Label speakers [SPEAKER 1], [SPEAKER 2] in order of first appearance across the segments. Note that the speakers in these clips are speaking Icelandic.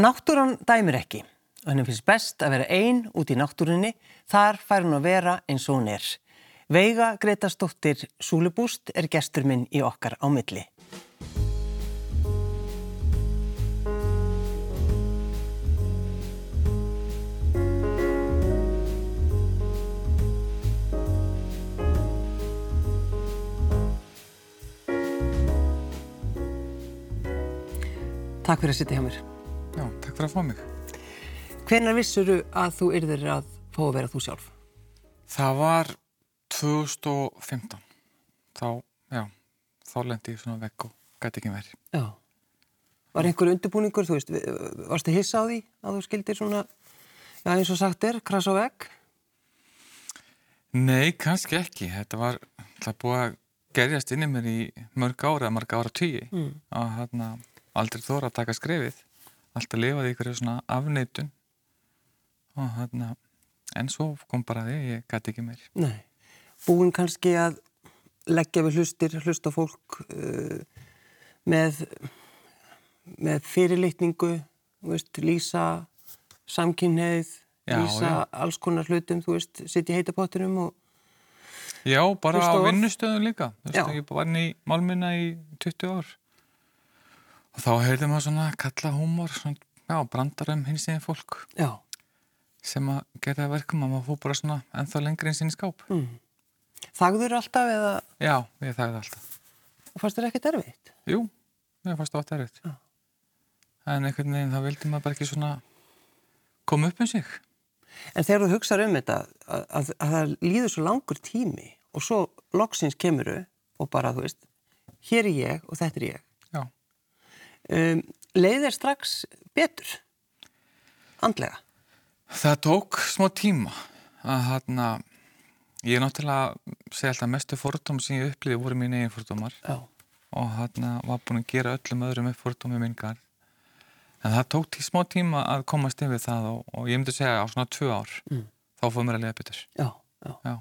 [SPEAKER 1] Náttúran dæmir ekki. Henni finnst best að vera einn út í náttúrunni. Þar fær hún að vera eins og hún er. Veiga Gretastóttir Súlebúst er gestur minn í okkar á milli. Takk fyrir að sitja hjá mér.
[SPEAKER 2] Já, takk fyrir að fá mig.
[SPEAKER 1] Hvenar vissuru að þú yrðir að fá að vera þú sjálf?
[SPEAKER 2] Það var 2015. Þá, já, þá lendi ég svona vekk og gæti ekki verið.
[SPEAKER 1] Já. Var einhver undirbúningur, þú veist, við- varstu hissa á því að þú skildir svona, já eins og sagt er, krass á vegg?
[SPEAKER 2] Nei, kannski ekki. Þetta var alltaf búið að gerjast inn í mér í mörg ára, mörg ára tíi. Mm. Að hérna aldrei þóra að taka skrefið. Alltaf lifaði ykkur svona afneitun. Og hérna, en svo kom bara því, ég gæti ekki meir.
[SPEAKER 1] Nei. Búinn kannski að leggja við hlustir, hlusta á fólk uh, með, með fyrirlitningu, þú veist, lýsa samkynneið,
[SPEAKER 2] Já,
[SPEAKER 1] lýsa
[SPEAKER 2] já.
[SPEAKER 1] alls konar hlutum, þú veist, sitja í heitapottinum og
[SPEAKER 2] Já, bara
[SPEAKER 1] Fyrsta
[SPEAKER 2] á
[SPEAKER 1] orð.
[SPEAKER 2] vinnustöðum líka. Þú
[SPEAKER 1] Já.
[SPEAKER 2] veist, ég vann í málminna í 20 ár. Og þá heyrði maður svona kalla húmor, svona, já, brandarum hins eða fólk
[SPEAKER 1] já.
[SPEAKER 2] sem að gera það verkum að maður fór bara svona ennþá lengri eins inn í skáp.
[SPEAKER 1] Mm. Þagður alltaf eða
[SPEAKER 2] Já, ég þagði alltaf.
[SPEAKER 1] fannst þér ekkert erfitt?
[SPEAKER 2] Jú, mér fannst það átt erfitt.
[SPEAKER 1] Já.
[SPEAKER 2] En einhvern veginn, þá vildi maður bara ekki svona koma upp um sig.
[SPEAKER 1] En þegar þú hugsaður um þetta, að, að, að það líður svo langur tími og svo loksins kemuru og bara, þú veist, hér er ég og þetta er ég.
[SPEAKER 2] Já.
[SPEAKER 1] Um, leið er strax betur, andlega.
[SPEAKER 2] Það tók smá tíma að hérna, ég er náttúrulega segja alltaf mestu fordóm sem ég upplýði voru mín eigin fordómar.
[SPEAKER 1] Já.
[SPEAKER 2] og hérna var búin að gera öllum öðrum upp fordómi mingar en það tók tí smá tíma að komast yfir það og, og ég myndi segja á svona tvö ár þá fóðum mér að liða betur
[SPEAKER 1] Já, já.
[SPEAKER 2] já,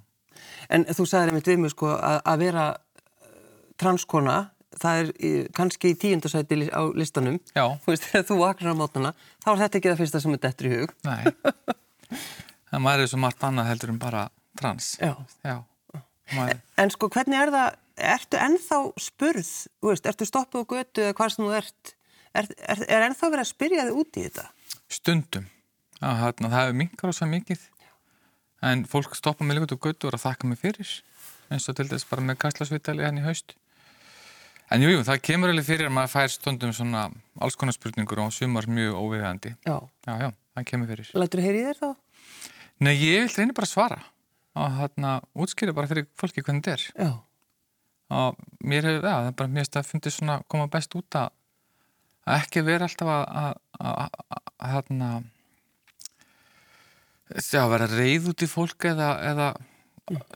[SPEAKER 1] En þú sagðir einmitt við mig, sko, að, að vera eh, transkona, það er í, kannski í tíundasæti li- á listanum.
[SPEAKER 2] já,
[SPEAKER 1] Þú veist, þegar þú vaknar á mótnana, þá er þetta ekki það fyrsta sem er dettur í hug.
[SPEAKER 2] nei en maður er svo margt annað heldur en bara trans
[SPEAKER 1] Já.
[SPEAKER 2] já. Maður,
[SPEAKER 1] En sko, hvernig er það, ertu ennþá spurð, þú veist, ertu stoppuð á götu eða hvað sem þú ert, er, er, er ennþá verið að spyrja þig út í þetta?
[SPEAKER 2] stundum að, hérna, það hefur minkar og svo mikið en fólk stoppa mig líka út á götu og er að þakka mig fyrir eins og til þess bara með kastlasvitali hann í haust en jújú, jú, það kemur alveg fyrir að maður fær stundum svona alls konar spurningur og sumar mjög óviðandi
[SPEAKER 1] Já.
[SPEAKER 2] já, já, það kemur fyrir
[SPEAKER 1] Lætur heyri þér þá?
[SPEAKER 2] Nei, ég vil reyna bara að svara og þarna útskýra bara fyrir fólki hvernig þetta er
[SPEAKER 1] Já.
[SPEAKER 2] og mér hefur, já, það er bara mjög stað fundið svona koma best út að að ekki vera alltaf að að- að- að- að þarna já, vera reyð út í fólk eða, eða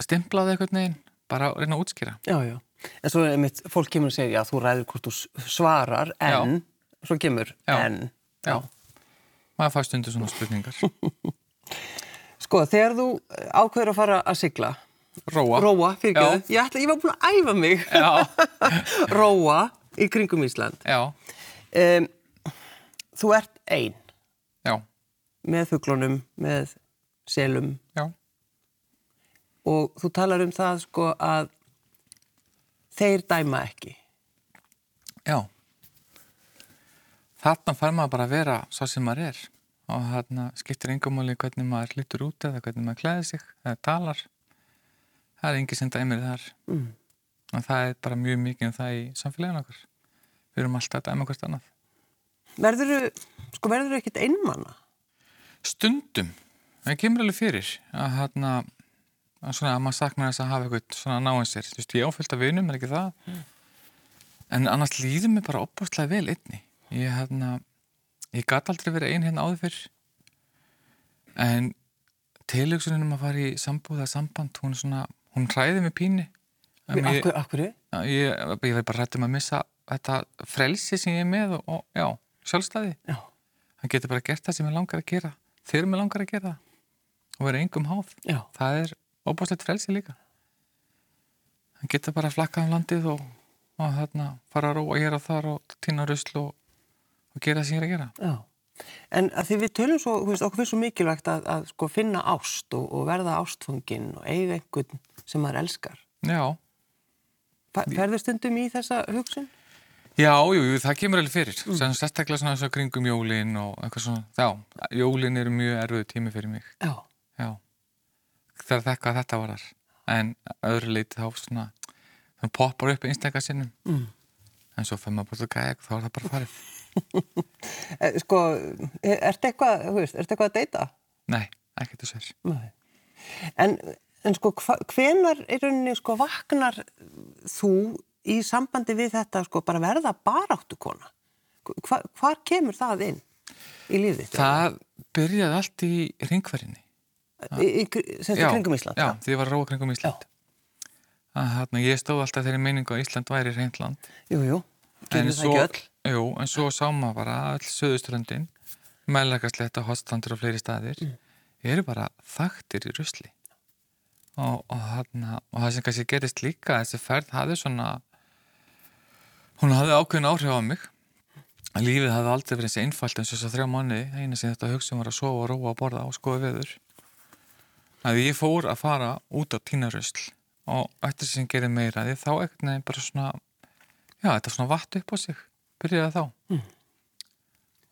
[SPEAKER 2] stimplaði eitthvað neginn, bara reyna að útskýra
[SPEAKER 1] Já, já. En svo er mitt, fólk kemur og segir, já, þú ræður hvort þú s- svarar, en, svo kemur,
[SPEAKER 2] Já.
[SPEAKER 1] en.
[SPEAKER 2] Já. maður fæst undir svona spurningar
[SPEAKER 1] Sko, þegar þú eh, ákveður að fara að sigla,
[SPEAKER 2] Róa,
[SPEAKER 1] róa, fyrir
[SPEAKER 2] Já.
[SPEAKER 1] ég ætla, ég var búin að æfa mig,
[SPEAKER 2] Já,
[SPEAKER 1] róa í kringum Ísland.
[SPEAKER 2] já,
[SPEAKER 1] Um, þú ert einn
[SPEAKER 2] já,
[SPEAKER 1] með fuglunum, með selum,
[SPEAKER 2] já
[SPEAKER 1] og þú talar um það sko að þeir dæma ekki.
[SPEAKER 2] Já. Þarna fær maður bara að vera svo sem maður er og þarna skiptir engamáli hvernig maður lítur út eða hvernig maður klæðir sig eða talar. Það er engi sem dæmir þar. Mm. En það er bara mjög mikið um það í samfélaginu okkar. Við erum alltaf að dæma hvert annað.
[SPEAKER 1] Verður sko verður ekkert einmana?
[SPEAKER 2] Stundum, það kemur alveg fyrir að þarna að svona að maður saknar þess að hafa eitthvað svona náinn sér. Þú veist, ég áfylgta vinum, er ekki það.
[SPEAKER 1] Mm.
[SPEAKER 2] En annars líður mér bara opbústlega vel einni. Ég, hérna, ég gat aldrei verið ein hérna áður fyrr. En tilöksunin um að fara í sambúða samband, hún svona, hún hræði mig píni.
[SPEAKER 1] Af
[SPEAKER 2] Em, Ég,
[SPEAKER 1] hverju? Af hverju?
[SPEAKER 2] ég, ég verð bara rættum að missa þetta frelsi sem ég er með og, og já, sjálfstæði.
[SPEAKER 1] Já.
[SPEAKER 2] Hann getur bara gert það sem ég langar að gera. Þeir eru mig langar að gera það. Og vera engum háð.
[SPEAKER 1] Já.
[SPEAKER 2] Það er óbáslegt frelsi líka. Hann getur bara að flakka um landið og, og þarna, fara að róa hér og þar og týna rusl og, og gera það sem ég er að gera.
[SPEAKER 1] Já. En að því við tölum svo, þú veist, okkur finnst svo mikilvægt að, að sko finna ást og, og verða ástfangin og eiga einhvern sem maður elskar.
[SPEAKER 2] Já,
[SPEAKER 1] Fa- Ferðu stundum í þessa hugsun?
[SPEAKER 2] já, jú, jú, það kemur alveg fyrir. Mm. Sérstaklega svona þess að kringum jólin og eitthvað svona, já, jólin eru mjög erfiðu tími fyrir mig.
[SPEAKER 1] Já.
[SPEAKER 2] Já, það er þekka að þetta var þar. En að öðru leiti þá svona, það poppar upp einstakar sinnum. Mm. En svo fyrir maður bara til gæk, þá er það bara farið.
[SPEAKER 1] E, sko, e- ertu eitthvað, þú veist, ertu eitthvað að deyta?
[SPEAKER 2] Nei, ekkert þess að
[SPEAKER 1] Nei. En, en sko, hva, hvenar í rauninni, sko, vaknar þú í sambandi við þetta, sko, bara verða baráttukona? Hva, hvar kemur það inn í lífið? þitt?
[SPEAKER 2] Það byrjaði allt í ringverðinni.
[SPEAKER 1] Í, í, semst í kringum Ísland?
[SPEAKER 2] Já, því ég var að róa kringum Ísland. Að, hérna, ég stóð alltaf þeirri meiningu að Ísland væri reyndland.
[SPEAKER 1] Jú, jú. Gerðu það
[SPEAKER 2] svo,
[SPEAKER 1] ekki öll?
[SPEAKER 2] Jú, en svo sá maður bara að öll söðuströndin, meðlækarsletta, hotstandur og fleiri staðir,
[SPEAKER 1] Mm.
[SPEAKER 2] eru bara þaktir í rusli. Og, og, þarna, og það sem kannski gerist líka, þessi ferð hafði svona, hún hafði ákveðin áhrif á mig. Að Lífið hafði aldrei verið eins einfalt eins og þess að þrjá manni, eina sem þetta hugsun var að sofa og róa og borða og skoða veður. Að ég fór að fara út á tínarusl og eftir sem gerir meira, því þá ekkert nefn bara svona Já, þetta er svona vatt upp á sig, byrjaði þá.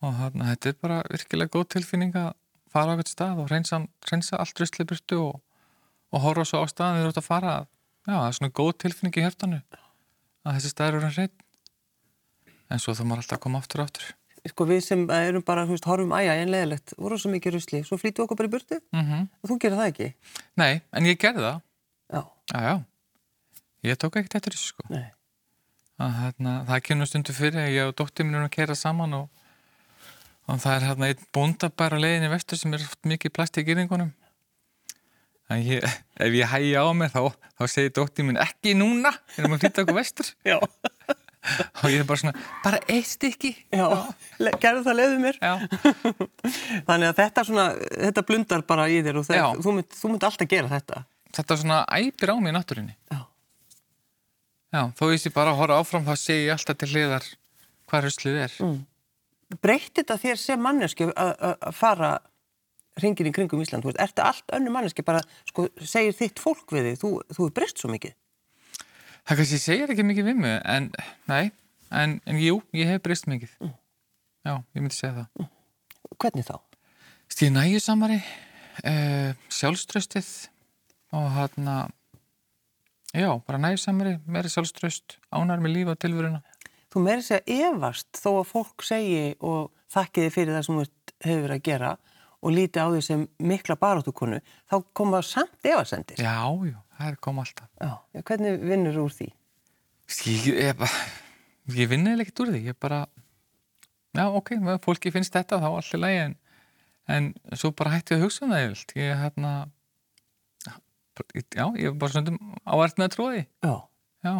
[SPEAKER 2] Og þarna, þetta er bara virkilega góð tilfinning að fara á eitthvað stað og reynsa, reynsa allt rusli burtu og, og horfa svo á staðan þegar þú ert að fara. Já, það er svona góð tilfinning í hértanu að þessi staður eru hreinn. En svo þá maður alltaf að koma aftur og aftur.
[SPEAKER 1] sko við sem erum bara, þú veist, horfum æja en leðilegt, voru svo mikið rusli, svo flýtu okkur bara í burtu
[SPEAKER 2] Mm
[SPEAKER 1] og þú gerir það ekki.
[SPEAKER 2] Nei, en ég gerði það.
[SPEAKER 1] Já,
[SPEAKER 2] Já, já. Ég tók ekkert eftir þessu sko.
[SPEAKER 1] nei.
[SPEAKER 2] að hérna, það kemur stundu fyrir að ég og dóttir minn erum að kera saman og, og það er hérna einn bóndabær á leiðinni vestur sem er oft mikið plast í gyrningunum en ég, ef ég hægja á mér þá, þá segir dóttir minn ekki núna erum að flýta okkur vestur
[SPEAKER 1] Já.
[SPEAKER 2] og ég er bara svona, bara eitt stykki
[SPEAKER 1] Já, le- gerðu það leiðu mér.
[SPEAKER 2] já,
[SPEAKER 1] Þannig að þetta svona, þetta blundar bara í þér og það,
[SPEAKER 2] Já.
[SPEAKER 1] þú, mynd, þú mynd alltaf gera þetta.
[SPEAKER 2] þetta svona æpir á mig í náttúrinni
[SPEAKER 1] Já.
[SPEAKER 2] já, þó ég sé bara að horfa áfram þá segi ég alltaf til hliðar hvað ruslið er
[SPEAKER 1] Breytti þetta þér sem manneski að að fara ringin í kringum Ísland, þú veist, ertu allt önnu manneski bara, sko, segir þitt fólk við þig, þú, þú er breyst svo mikið.
[SPEAKER 2] Það kannski segir ekki mikið við mig, en nei, en, en jú, ég hef breyst mikið. Já, ég myndi segja það.
[SPEAKER 1] Hvernig þá?
[SPEAKER 2] Stíð nægjusamari, uh, sjálfströstið og hérna, já, bara nægjusamari, meira sjálfströst, ánar með lífa og tilvöruna.
[SPEAKER 1] Þú meiri segja efast þó að fólk segi og þakki þið fyrir það sem þú ert- hefur verið að gera og líti á því sem mikla baráttukonu, þá koma samt efasendir.
[SPEAKER 2] Já, já, það er koma alltaf.
[SPEAKER 1] Já. Já, hvernig vinnur úr því?
[SPEAKER 2] Ég, ég, bara- ég vinn eða ekkert úr því, ég bara, já, ok, ef fólki finnst þetta þá allir lægi, en, en svo bara hætti ég að hugsa um það yfirlt. Ég, hérna, já, ég er bara svona á ert með að trúa því.
[SPEAKER 1] Já,
[SPEAKER 2] Já.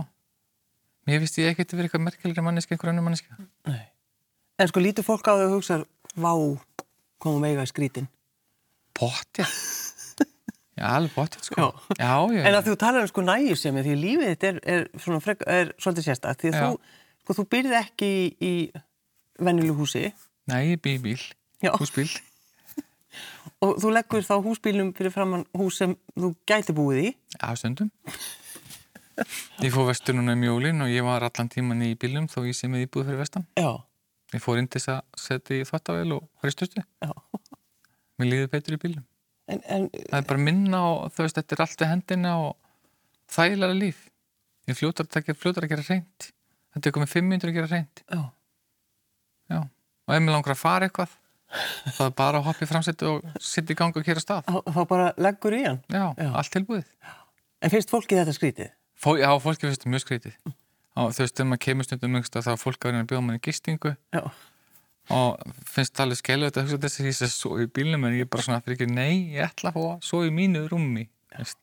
[SPEAKER 2] Mér finnst ég ekkert að vera eitthvað merkilegri manneski einhver annar manneski.
[SPEAKER 1] nei. En sko lítur fólk á því að hugsa, vá, komum eiga í skrítin.
[SPEAKER 2] Potja. Já, alveg potja, sko.
[SPEAKER 1] Já.
[SPEAKER 2] Já, já.
[SPEAKER 1] En að þú talar um sko nægjur sem er því að lífið þitt er, er, svona frek, er svolítið sérstætt. Því að
[SPEAKER 2] Já.
[SPEAKER 1] þú, sko, þú byrðið ekki í, í vennilu húsi
[SPEAKER 2] Nei, ég bý í bíl.
[SPEAKER 1] Já.
[SPEAKER 2] Húsbíl.
[SPEAKER 1] og þú leggur þá húsbílum fyrir framann hús sem þú gæti búið í.
[SPEAKER 2] Já, stundum. Ég fór vestur núna um jólin og ég var allan tíman í bílum þó ég sé með íbúð fyrir vestan.
[SPEAKER 1] Já,
[SPEAKER 2] Ég fór inn til þess að setja í þvóttavél og hristustu.
[SPEAKER 1] já.
[SPEAKER 2] Mér líður betur í bílum.
[SPEAKER 1] En, en
[SPEAKER 2] Það er bara minna og þú veist, þetta er allt við hendina og þægilega líf. Ég fljótar, það er fljótar að gera reynd. Þetta er komið 500 að gera reynd.
[SPEAKER 1] Já,
[SPEAKER 2] Já, og ef mér langar að fara eitthvað þá er bara að hoppa í framsættu og sitta í gangi og kera stað.
[SPEAKER 1] þá, þá bara leggur í hann.
[SPEAKER 2] Já,
[SPEAKER 1] Já.
[SPEAKER 2] allt tilbúið.
[SPEAKER 1] En finnst fólki þetta skrítið?
[SPEAKER 2] Fó, já, fólki finnst þetta mjög skrítið. Á, þú veist, þegar maður kemur stundum yngst að þá er fólk að reyna að bjóða manni gistingu
[SPEAKER 1] Já.
[SPEAKER 2] og finnst það alveg skellu að hugsa þess að ég sé að sofa í bílnum en ég er bara svona fyrir ekki, nei, ég ætla að fá að sofa í mínu rúmi. þú veist.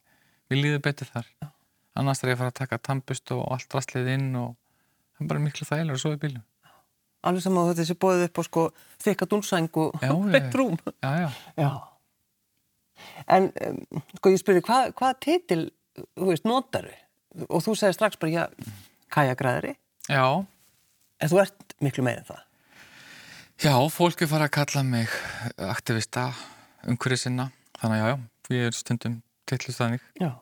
[SPEAKER 2] Mér líður betur þar. Annars er ég að fara að taka tampust og allt rastlið inn og það er bara miklu þægilega að sofa í bílnum.
[SPEAKER 1] Alveg saman að þetta sé bóðið upp á sko þykka dúnsæng og
[SPEAKER 2] Já, já, já.
[SPEAKER 1] hreitt rúm.
[SPEAKER 2] Já, já.
[SPEAKER 1] Já. En um, sko ég spurði, hvað, hvað titil, þú veist, notaru? Og þú segði strax bara, já, kajakræðari.
[SPEAKER 2] Já,
[SPEAKER 1] En þú ert miklu meira en það.
[SPEAKER 2] Já, fólk er farið að kalla mig aktivista umhverju sinna þannig að já, já, ég er stundum tillist þannig.
[SPEAKER 1] Já.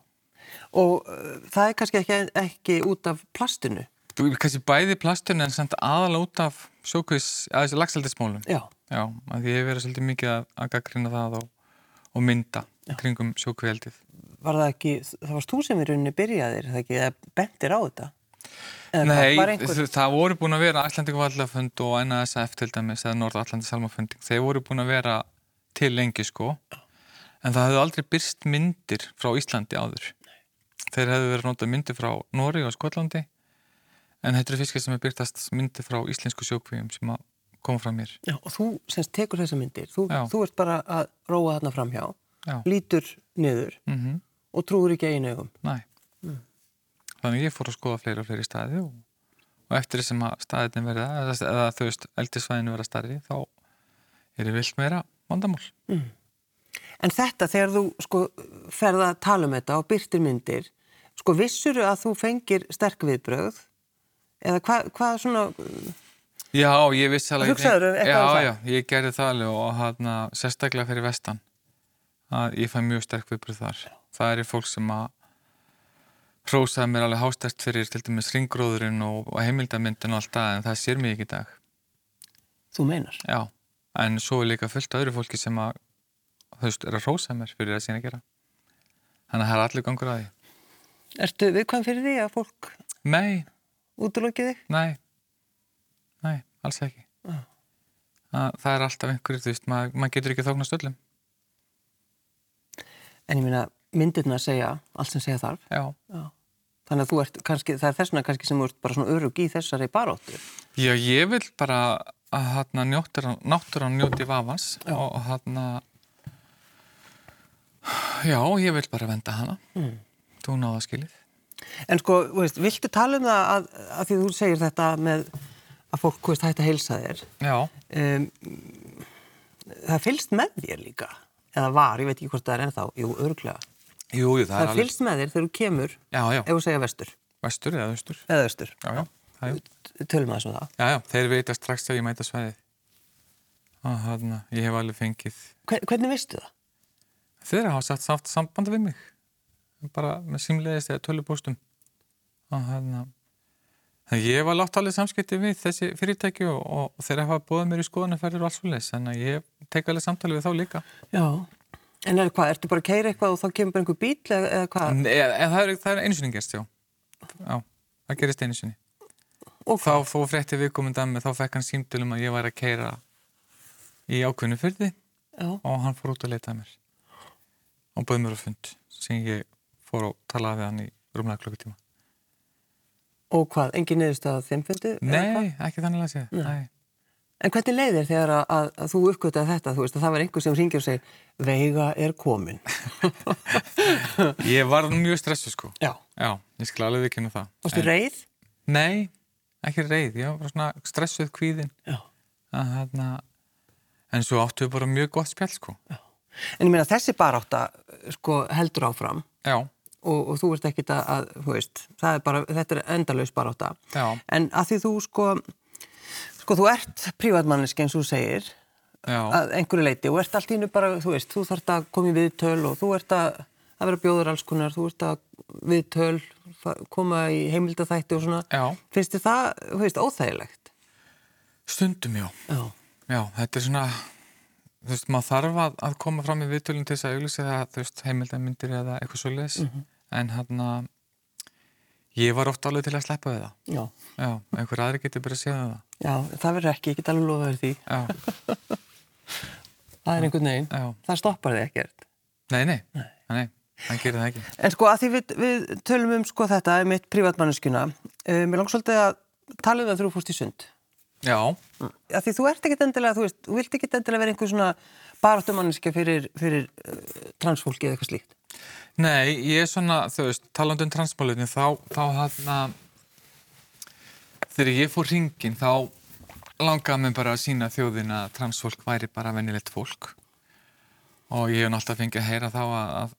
[SPEAKER 1] Og uh, það er kannski ekki, ekki út af plastinu.
[SPEAKER 2] Þú er kannski bæði plastun en samt aðal út af sjókvís, að þessu lagseldismólum.
[SPEAKER 1] Já.
[SPEAKER 2] Já, að því ég hef verið svolítið mikið að, að gaggrina það og, og mynda kringum sjókvíaldið.
[SPEAKER 1] Var það ekki, það varst þú sem í rauninni byrjaðir, það ekki, eða bentir á þetta? Eða hvað,
[SPEAKER 2] Nei,
[SPEAKER 1] var einhver,
[SPEAKER 2] þau- það voru búin að vera Æslandingu vallafund og NASF til dæmis eða Norðallandi salmafunding. Þeir voru búin að vera til lengi sko en það hefðu aldrei byrst myndir frá Íslandi áður. Þeir hefðu verið að nota myndir frá Nóri og Skotlandi en þetta eru fiskir sem er byrtast myndir frá íslensku sjókvíum sem að koma frá mér.
[SPEAKER 1] já, og þú semst tekur þessa myndir, þú,
[SPEAKER 2] Já.
[SPEAKER 1] þú ert bara að róa þarna framhjá,
[SPEAKER 2] Já.
[SPEAKER 1] lítur niður
[SPEAKER 2] Mm
[SPEAKER 1] og trúur ekki einu augum.
[SPEAKER 2] Næ.
[SPEAKER 1] Mm.
[SPEAKER 2] Þannig ég fór að skoða fleiri og fleiri staði og, og eftir því sem að staðin verða, eða, eða þú veist, eldisvæðin verða starri, þá er ég vilt meira vandamál.
[SPEAKER 1] En þetta, þegar þú sko ferða að tala um þetta og byrtir myndir, sko vissuru að þú fengir sterk viðbröð? Eða hvað hva svona,
[SPEAKER 2] Já, ég vissi alveg...
[SPEAKER 1] Hugsaðirðu eitthvað um
[SPEAKER 2] já,
[SPEAKER 1] það?
[SPEAKER 2] Já, ég gerði það alveg og hana, sérstaklega fyrir vestan að ég fæ mjög sterk viðbröð þar. Það er fólk sem að hrósaði mér alveg hástert fyrir til dæmis ringróðurinn og, og heimildamyndin og allt það, en það sér mér ekki í dag.
[SPEAKER 1] þú meinar?
[SPEAKER 2] Já, en svo er líka fullt af öðru fólki sem að, þú veist, er að hrósa mér fyrir það sem ég er að gera. Þannig að það er allir gangur að því.
[SPEAKER 1] Ertu viðkvæm fyrir því að fólk
[SPEAKER 2] Nei,
[SPEAKER 1] útlokið þig?
[SPEAKER 2] nei, nei, alls ekki.
[SPEAKER 1] Já.
[SPEAKER 2] Það, það er alltaf einhverjir, þú veist, maður mað getur ekki þóknast öllum.
[SPEAKER 1] En ég meina, myndirna segja allt sem segja þarf.
[SPEAKER 2] Já.
[SPEAKER 1] Já. Þannig að þú ert kannski, það er þessna kannski sem þú ert bara svona örug í þessari baróttu.
[SPEAKER 2] Já, ég vil bara að þarna njóttur, náttúran njóti vafans og þarna, já, ég vil bara venda hana. Mm. Þú náða skilið.
[SPEAKER 1] En sko, þú veist, viltu tala um það að, að því þú segir þetta með að fólk, þú veist, hægt að heilsa þér?
[SPEAKER 2] Já.
[SPEAKER 1] um, það fylgst með þér líka eða var, ég veit ekki hvort það er ennþá jú, örglega,
[SPEAKER 2] Jú, jú, það,
[SPEAKER 1] það
[SPEAKER 2] er alveg.
[SPEAKER 1] fylgst með þér þegar þú kemur
[SPEAKER 2] Já, já,
[SPEAKER 1] ef þú segja vestur,
[SPEAKER 2] vestur eða austur.
[SPEAKER 1] eða östur
[SPEAKER 2] Já, já, það er.
[SPEAKER 1] tölum aðeins um það
[SPEAKER 2] Já, já, þeir vita strax að ég mæta svæðið. Og þarna, ég hef alveg fengið.
[SPEAKER 1] Hver, hvernig veistu það?
[SPEAKER 2] Þeir hafa sett sátt samband við mig. Bara með símleiðist eða tölupóstum. Og þarna, þannig ég hef alveg átt alveg samskipti við þessi fyrirtæki og, og þeir hafa búið mér í skoðanarferðir og alls fólks. Þannig að ég tek alveg samtali við þá líka.
[SPEAKER 1] Já En er hvað, ertu bara að keira eitthvað og þá kemur bara einhver bíl eða, eða hvað?
[SPEAKER 2] En, en, en það er, það er einu sinni gerst, já. Já, það gerist einu sinni.
[SPEAKER 1] Og
[SPEAKER 2] Þá fór frétti viðkomandi að mig, þá fekk hann símtölum að ég var að keira í ákveðnu fyrði.
[SPEAKER 1] Já.
[SPEAKER 2] og hann fór út að leita að mér og bauð mér á fund sem ég fór og talaði við hann í rúmlega klukkutíma
[SPEAKER 1] Og hvað, engin niðurstaða af þeim fundi? eða hvað?
[SPEAKER 2] Nei, ekki þannig að segja Nei.
[SPEAKER 1] En hvernig leiðir þegar að, að, að þú uppgötaði þetta? Þú veist að það var einhver sem ringir og segir, veiga er komin.
[SPEAKER 2] Ég var mjög stressu sko
[SPEAKER 1] Já.
[SPEAKER 2] Já, ég skil alveg ekki nú það
[SPEAKER 1] Varstu
[SPEAKER 2] En-
[SPEAKER 1] reið?
[SPEAKER 2] Nei, ekki reið, ég var svona stressuð kvíðin
[SPEAKER 1] Já.
[SPEAKER 2] að, hana, En svo áttu við bara mjög gott spjall sko
[SPEAKER 1] En ég meina þessi barátta sko, heldur áfram
[SPEAKER 2] Já,
[SPEAKER 1] og, og þú ert ekkit að, að þú veist, það er bara, þetta er endalaus barátta.
[SPEAKER 2] Já.
[SPEAKER 1] En að því þú sko, sko þú ert prívatmanniski eins og þú segir
[SPEAKER 2] já,
[SPEAKER 1] að einhverju leiti og ert allt í hennu bara, þú veist, þú þart að koma í viðtöl og þú ert að, að vera bjóður alls konar, þú ert að viðtöl, fa- koma í heimildaþætti og svona.
[SPEAKER 2] já
[SPEAKER 1] Finnst þið það, þú veist, óþægilegt?
[SPEAKER 2] Stundum já
[SPEAKER 1] Já.
[SPEAKER 2] Já, þetta er svona þú veist, maður þarf að, að koma fram í viðtölum til þess að auglýsa það, þú veist, heimildamindir eða eitthvað svo leis, en hann ég var oft alveg til að sleppa við það,
[SPEAKER 1] Já.
[SPEAKER 2] já, einhver aðri getur bara að segja það,
[SPEAKER 1] Já, það verður ekki, ég get alveg lofaður því.
[SPEAKER 2] já,
[SPEAKER 1] Það er einhvern veginn.
[SPEAKER 2] já
[SPEAKER 1] Það stoppar þið ekkert.
[SPEAKER 2] nei, nei, nei, hann gerir það ekki
[SPEAKER 1] En sko að því við, við tölum um sko þetta, mitt privatmanneskuna, uh, mér langt svolítið að tala um það þegar þú fórst í sund.
[SPEAKER 2] já,
[SPEAKER 1] Að því þú ert ekkit endilega, þú veist, þú vilt ekkit endilega vera einhver svona baráttumanneskja fyrir, fyrir uh, transfólki eða eitthvað slíkt.
[SPEAKER 2] nei, ég er svona þú veist, talandi um transmálutin þá, þá hann þegar ég fór ringin þá langaði mig bara að sína þjóðin að transfólk væri bara venjulegt fólk og ég hef náttúrulega fengið að heyra þá að, að,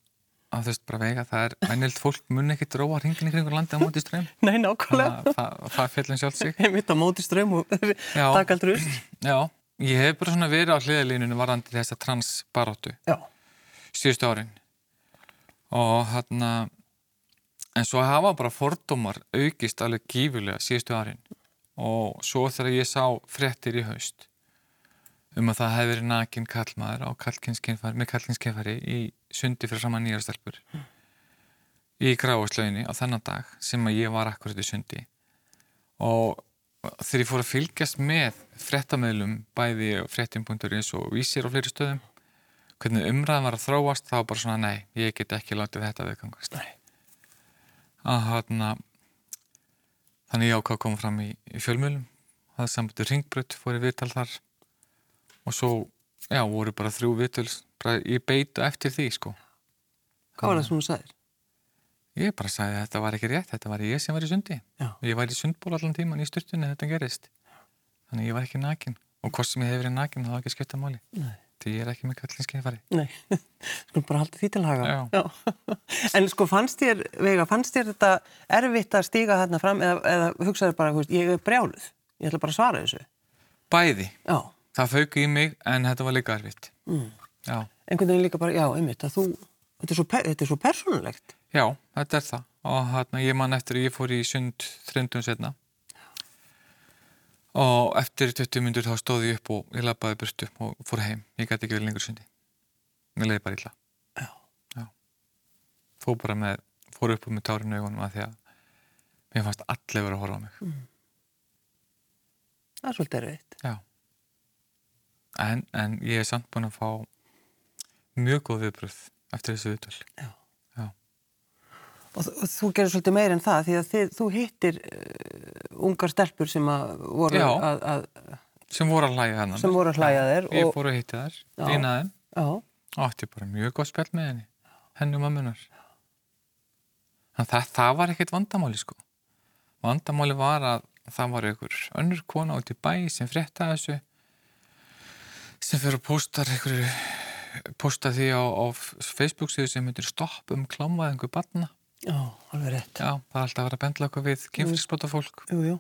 [SPEAKER 2] að þú veist bara vega það er venjulegt fólk mun ekki dróa ringin ykkur landi á móti ströym
[SPEAKER 1] Nei, nákvæmlega.
[SPEAKER 2] það, það, það fellum sjálf sig
[SPEAKER 1] Ég mitt á móti ströym og
[SPEAKER 2] Já.
[SPEAKER 1] takk aldrei ust.
[SPEAKER 2] já, ég hef bara svona verið á hliðalínunum varðandi þessa transbaróttu
[SPEAKER 1] já,
[SPEAKER 2] síðustu árin og hérna en svo hafa bara fordómar aukist alveg gífulega síðustu árin og svo þegar ég sá fréttir í haust um að það hefði verið nakin kallmaður á kallkynskinfæri, með kallkynskinfæri í sundi fyrir saman nýjarastelpur í gráuslauginni á þennan dag sem að ég var akkurat í sundi og þegar ég fór að fylgjast með fréttameðlum bæði fréttin.is og vísir á fleiri stöðum hvernig umræðan var að þróast þá bara svona nei, ég get ekki látið þetta viðgangast
[SPEAKER 1] Nei.
[SPEAKER 2] að hana þannig ég ákvað að koma fram í, í fjölmjölum hafði sambandi ringbrut, fór í viðtal þar og svo já, voru bara þrjú viðtal bara ég beit eftir því sko
[SPEAKER 1] hvað var það sem hún sagðir?
[SPEAKER 2] ég bara sagði að þetta var ekki rétt, þetta var ég sem var í sundi
[SPEAKER 1] Já,
[SPEAKER 2] ég var í sundból allan tíman í styrtunni þetta gerist þannig ég var ekki nakin og hvort sem ég hef verið nakin þá var ekki skipta máli
[SPEAKER 1] nei,
[SPEAKER 2] því ég er ekki með kallinskifari
[SPEAKER 1] nei skulum bara halda því til haga
[SPEAKER 2] Já.
[SPEAKER 1] en sko fannst þér, Veiga, fannst þér þetta erfitt að stíga þarna fram eða, eða hugsaður bara, þú veist, ég er brjáluð ég ætla bara að svara þessu
[SPEAKER 2] bæði,
[SPEAKER 1] já,
[SPEAKER 2] það fauk í mig en þetta var líka erfitt mm. já
[SPEAKER 1] einhvern veginn líka bara, já, einmitt að þú, þetta er svo, pe- þetta er svo persónulegt
[SPEAKER 2] Já, þetta er það og hérna ég man eftir að ég fór í sund 30 setna og eftir 20 myndur þá stóð ég upp og ég lappaði burtu og fór heim, ég gæti ekki vel lengur í sundi mér leiði bara illa
[SPEAKER 1] Já.
[SPEAKER 2] Já. fór bara með fór upp með tárinu augunum að því að mér fannst allir vera að horfa á mig
[SPEAKER 1] það er svolítið erfitt
[SPEAKER 2] Já en, en ég er samt búin að fá mjög góð viðbröð eftir þessu viðtöl
[SPEAKER 1] og, þ- og þú gerir svolítið meira en það því að þið, þú hittir uh, ungar stelpur sem að voru
[SPEAKER 2] Já.
[SPEAKER 1] að, að,
[SPEAKER 2] sem voru að hlæja hennar
[SPEAKER 1] sem voru að hlæja þér
[SPEAKER 2] ég
[SPEAKER 1] og,
[SPEAKER 2] fór að hitta þær,
[SPEAKER 1] Já.
[SPEAKER 2] eina þeim
[SPEAKER 1] já,
[SPEAKER 2] og átti bara mjög gott spjall með henni henni og mammunar þannig að það, það var ekkert vandamáli sko vandamáli var að það var einhver önnur kona út í bæ sem frétta þessu sem fyrir að pósta einhverju pósta því á, á Facebook síðu sem myndir stopp um klámaðingu barna
[SPEAKER 1] já, alveg rétt
[SPEAKER 2] já, það er alltaf að vera að bendla okkur við kynfyrsklota fólk
[SPEAKER 1] jú, jú,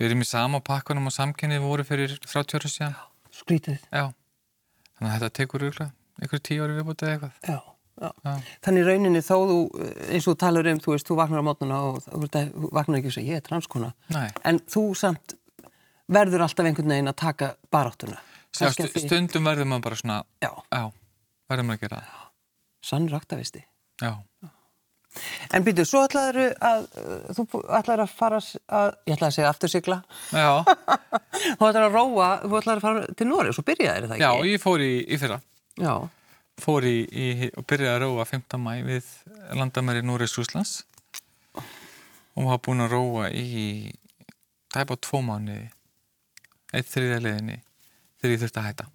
[SPEAKER 2] við erum í sama pakkunum og samkynnið voru fyrir 30 ára síðan
[SPEAKER 1] skrítið
[SPEAKER 2] já, þannig að þetta tekur ykkur, ykkur tíu ári viðbútið eitthvað
[SPEAKER 1] já, já
[SPEAKER 2] já.
[SPEAKER 1] Þannig í rauninni þó þú, eh, eins og þú talar um, þú veist, þú vaknar á mótnuna og þú veist, þú vaknar ekki og segir, ég er transkona.
[SPEAKER 2] Nei.
[SPEAKER 1] En þú samt verður alltaf einhvern veginn að taka baráttuna.
[SPEAKER 2] Já,
[SPEAKER 1] Kannski
[SPEAKER 2] stu-
[SPEAKER 1] að því-
[SPEAKER 2] stundum verður maður bara svona
[SPEAKER 1] Já,
[SPEAKER 2] já, verður maður að gera það
[SPEAKER 1] sann raktavisti.
[SPEAKER 2] já,
[SPEAKER 1] En býtu, svo ætlaður að, eh, þú ætlaður að fara s- að, ég ætlaði að segja aftur sigla,
[SPEAKER 2] já,
[SPEAKER 1] þú ætlaður að róa, þú ætlaður að fara til Nóri og svo byrjaðir það
[SPEAKER 2] já
[SPEAKER 1] ekki?
[SPEAKER 2] ég fór í, í fyrra
[SPEAKER 1] Já,
[SPEAKER 2] fór í, í og byrjaði að róa 15. mæ við landamæri Núriðs Úslands og var búin að róa í það er bara tvo mánuði eitt þriðja leiðinni þegar ég þurfti að hætta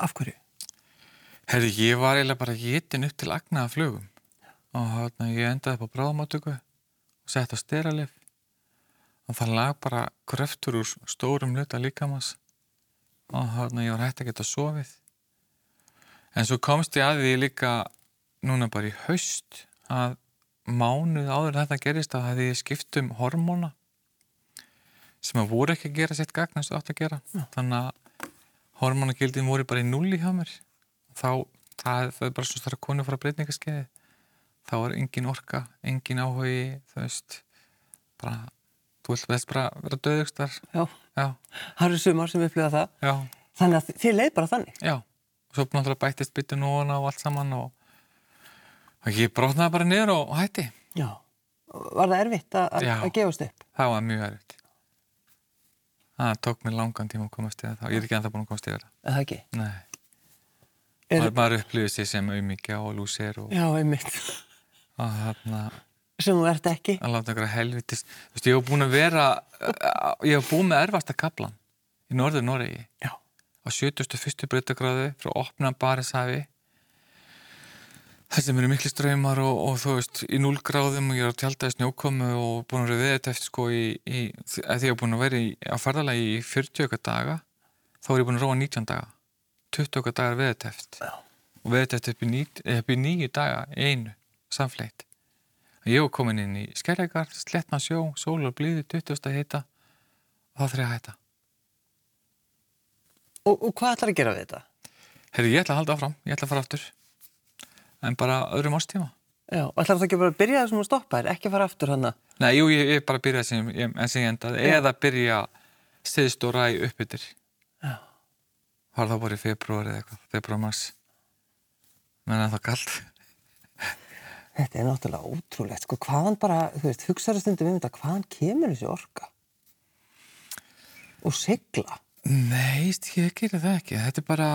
[SPEAKER 1] af hverju?
[SPEAKER 2] Herri, ég var eiginlega bara getin upp til agnaða flugum og hérna ég endaði upp á bráðmátöku og sett á styralif og það lag bara kröftur úr stórum hluta líkamans og hérna ég var hægt að geta sofið en svo komst ég að því líka núna bara í haust að mánuð áður en þetta gerist að því ég skipt um hormóna sem að voru ekki að gera sitt gagn eins og átt að gera þannig að hormónagildin voru bara í nulli hjá mér þá það, það er bara svona þar að konu fara breytingaskeiði þá er engin orka, engin áhugi þú veist bara, þú vilt veist bara vera döðugstar
[SPEAKER 1] Já,
[SPEAKER 2] já,
[SPEAKER 1] það eru sumar sem upplifa það.
[SPEAKER 2] já,
[SPEAKER 1] Þannig að þið leið bara þannig.
[SPEAKER 2] já og svo náttúrulega bættist byttu núna og allt saman og, og ég brotnaði bara niður og og hætti
[SPEAKER 1] Já. Var það erfitt að- að
[SPEAKER 2] Já.
[SPEAKER 1] að gefast upp?
[SPEAKER 2] það var mjög erfitt það tók mér langan tíma að komast yfir það ég er ekki ennþá búin að komast yfir það
[SPEAKER 1] Eða ekki?
[SPEAKER 2] Nei,
[SPEAKER 1] Er-
[SPEAKER 2] maður, maður upplifir sér sem auðmíkja og lúsir og,
[SPEAKER 1] Já, einmitt.
[SPEAKER 2] og þarna
[SPEAKER 1] sem þú ert ekki
[SPEAKER 2] að láta einhverja helvitis þú veist, ég hef búin að vera eh, ég hef búin með erfasta kaplan í norður Noregi
[SPEAKER 1] já,
[SPEAKER 2] á 71. breytagráðu frá opna barishafi þar sem eru miklu ströymar og, og þú veist, í 0 gráðum og ég er að tjálta í snjókomu og búin að vera við þetta eftir sko í, í að því ég hef búin að vera í, á ferðalagi í 40 okkar daga þá er ég búin að róa 19 daga 20 okkar dagar við þetta eftir
[SPEAKER 1] Já.
[SPEAKER 2] og við þetta eftir upp í ní- upp í nýju daga í einu, samfleitt Ég var komin inn í skerleikar, sletna sjó, sól og blíði, 20. hita og þá þarf ég að hætta.
[SPEAKER 1] Og, og hvað ætlar að gera við þetta?
[SPEAKER 2] Herri, ég ætla að halda áfram, ég ætla að fara aftur. En bara öðrum ástíma.
[SPEAKER 1] Já, og ætlar það ekki bara að byrja þessum að stoppa þér, ekki að fara aftur hana?
[SPEAKER 2] Nei, jú, ég, ég bara byrja sem, ég, en sem ég endaði. Eða byrja stiðst og ræ uppbyttir.
[SPEAKER 1] Já.
[SPEAKER 2] Var það bara í februar eða eitthvað, februar mars. Menn að það galt.
[SPEAKER 1] Þetta er náttúrulega ótrúlegt, sko, hvaðan bara, þú veist, hugsaður stundum um þetta, hvaðan kemur þessi orka? Og sigla.
[SPEAKER 2] Nei, stík, ég gerir það ekki. Þetta er bara...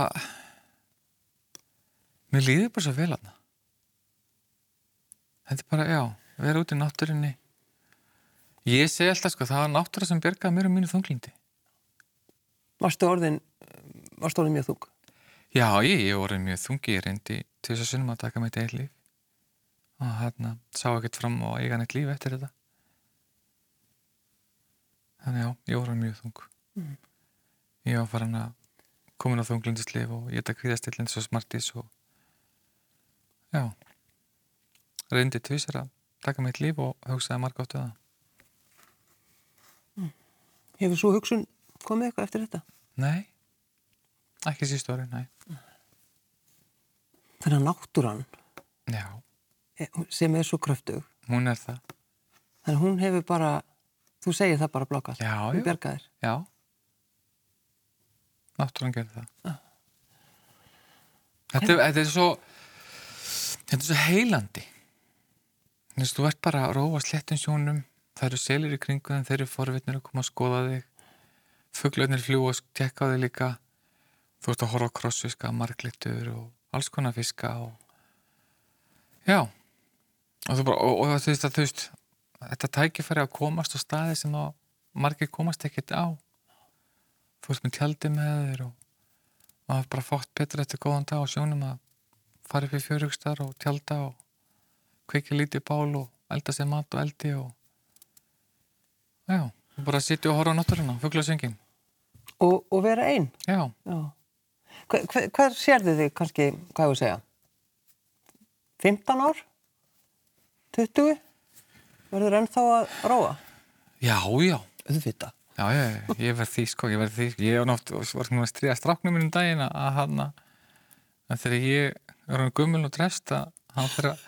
[SPEAKER 2] Mér líður bara svo vel hana. Þetta er bara, já, vera út í náttúrinni. Ég segi alltaf, sko, það var náttúra sem bjargaði mér um mínu þunglindi.
[SPEAKER 1] Varstu orðin, varstu orðin mjög þúk?
[SPEAKER 2] Já, ég, ég voru mjög þungi, ég reyndi til þess að sunnum að taka mitt eitt líf. Og hérna, sá ekkert fram og eiga neitt líf eftir þetta. Þannig já, ég voru mjög þung. Ég var farin að komin á þunglindisleif og ég þetta kvíðastillin svo smartis og já, reyndi tvisar að taka mitt líf og hugsaði marga áttu það.
[SPEAKER 1] Hefur svo hugsun komið eitthvað eftir þetta?
[SPEAKER 2] Nei, ekki sístu orði, nei.
[SPEAKER 1] Þannig að náttúran,
[SPEAKER 2] Já,
[SPEAKER 1] eh, sem er svo kröftug,
[SPEAKER 2] hún er það.
[SPEAKER 1] þannig að hún hefur bara, þú segir það bara blokkað.
[SPEAKER 2] Já,
[SPEAKER 1] Hún
[SPEAKER 2] já.
[SPEAKER 1] bjargaðir.
[SPEAKER 2] Já. Náttúran gerði það. Þetta, þetta er svo þetta er svo heilandi. Þú veist, þú ert bara að róa slettum sjónum, það eru selir í kringu en þeir eru forvitnir að koma að skoða þig. Fuglarnir fljúa og tekka þig líka. Þú ert að horfa á krossfiska, marglitur og alls konar fiska og já. Og þú bara, og, og þú veist að þú veist þetta tækifæri að komast á staði sem þá margir komast ekkert á þú ert með tjaldi með þér og og það er bara fótt betur eftir góðan dag og sjónum að fara upp í fjörugstar og tjalda og kveikja lítið bál og elda sér mat og eldi og já, og bara sitja og horfa á náttúruna, fuglasöngin
[SPEAKER 1] Og, og vera einn.
[SPEAKER 2] já,
[SPEAKER 1] Já. Hver, hver, hver sérðu þig kannski, hvað hefur að segja? 15 ár? 20? Verður ennþá að róa?
[SPEAKER 2] já, já
[SPEAKER 1] Auðvitað.
[SPEAKER 2] Já, já, já, ég verð því, sko, ég verð því, ég var nátt, var nú að stríða stráknum minn um daginn að- að hann að að þegar ég er hann gummul og drefst að hann fyrir að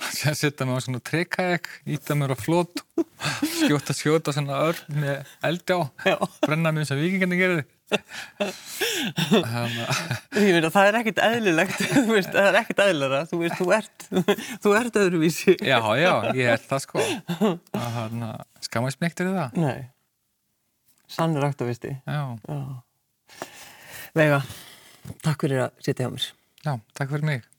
[SPEAKER 2] hann sé að setja mig á svona trekæk, íta mér á flót, skjóta skjóta svona örn með eldi á,
[SPEAKER 1] Já.
[SPEAKER 2] brenna mér eins og vikingarnir gerði. Þannig að,
[SPEAKER 1] Ég meina, það er ekkert eðlilegt, þú veist, það er ekkert eðlilega, þú veist, þú ert, þú ert öðruvísi.
[SPEAKER 2] já, já, ég er það sko, að hann að skamast mig ekkert í það,
[SPEAKER 1] Nei, sannur aktavisti.
[SPEAKER 2] já,
[SPEAKER 1] Já. Veiga, takk fyrir að sitja hjá mér.
[SPEAKER 2] já, takk fyrir mig.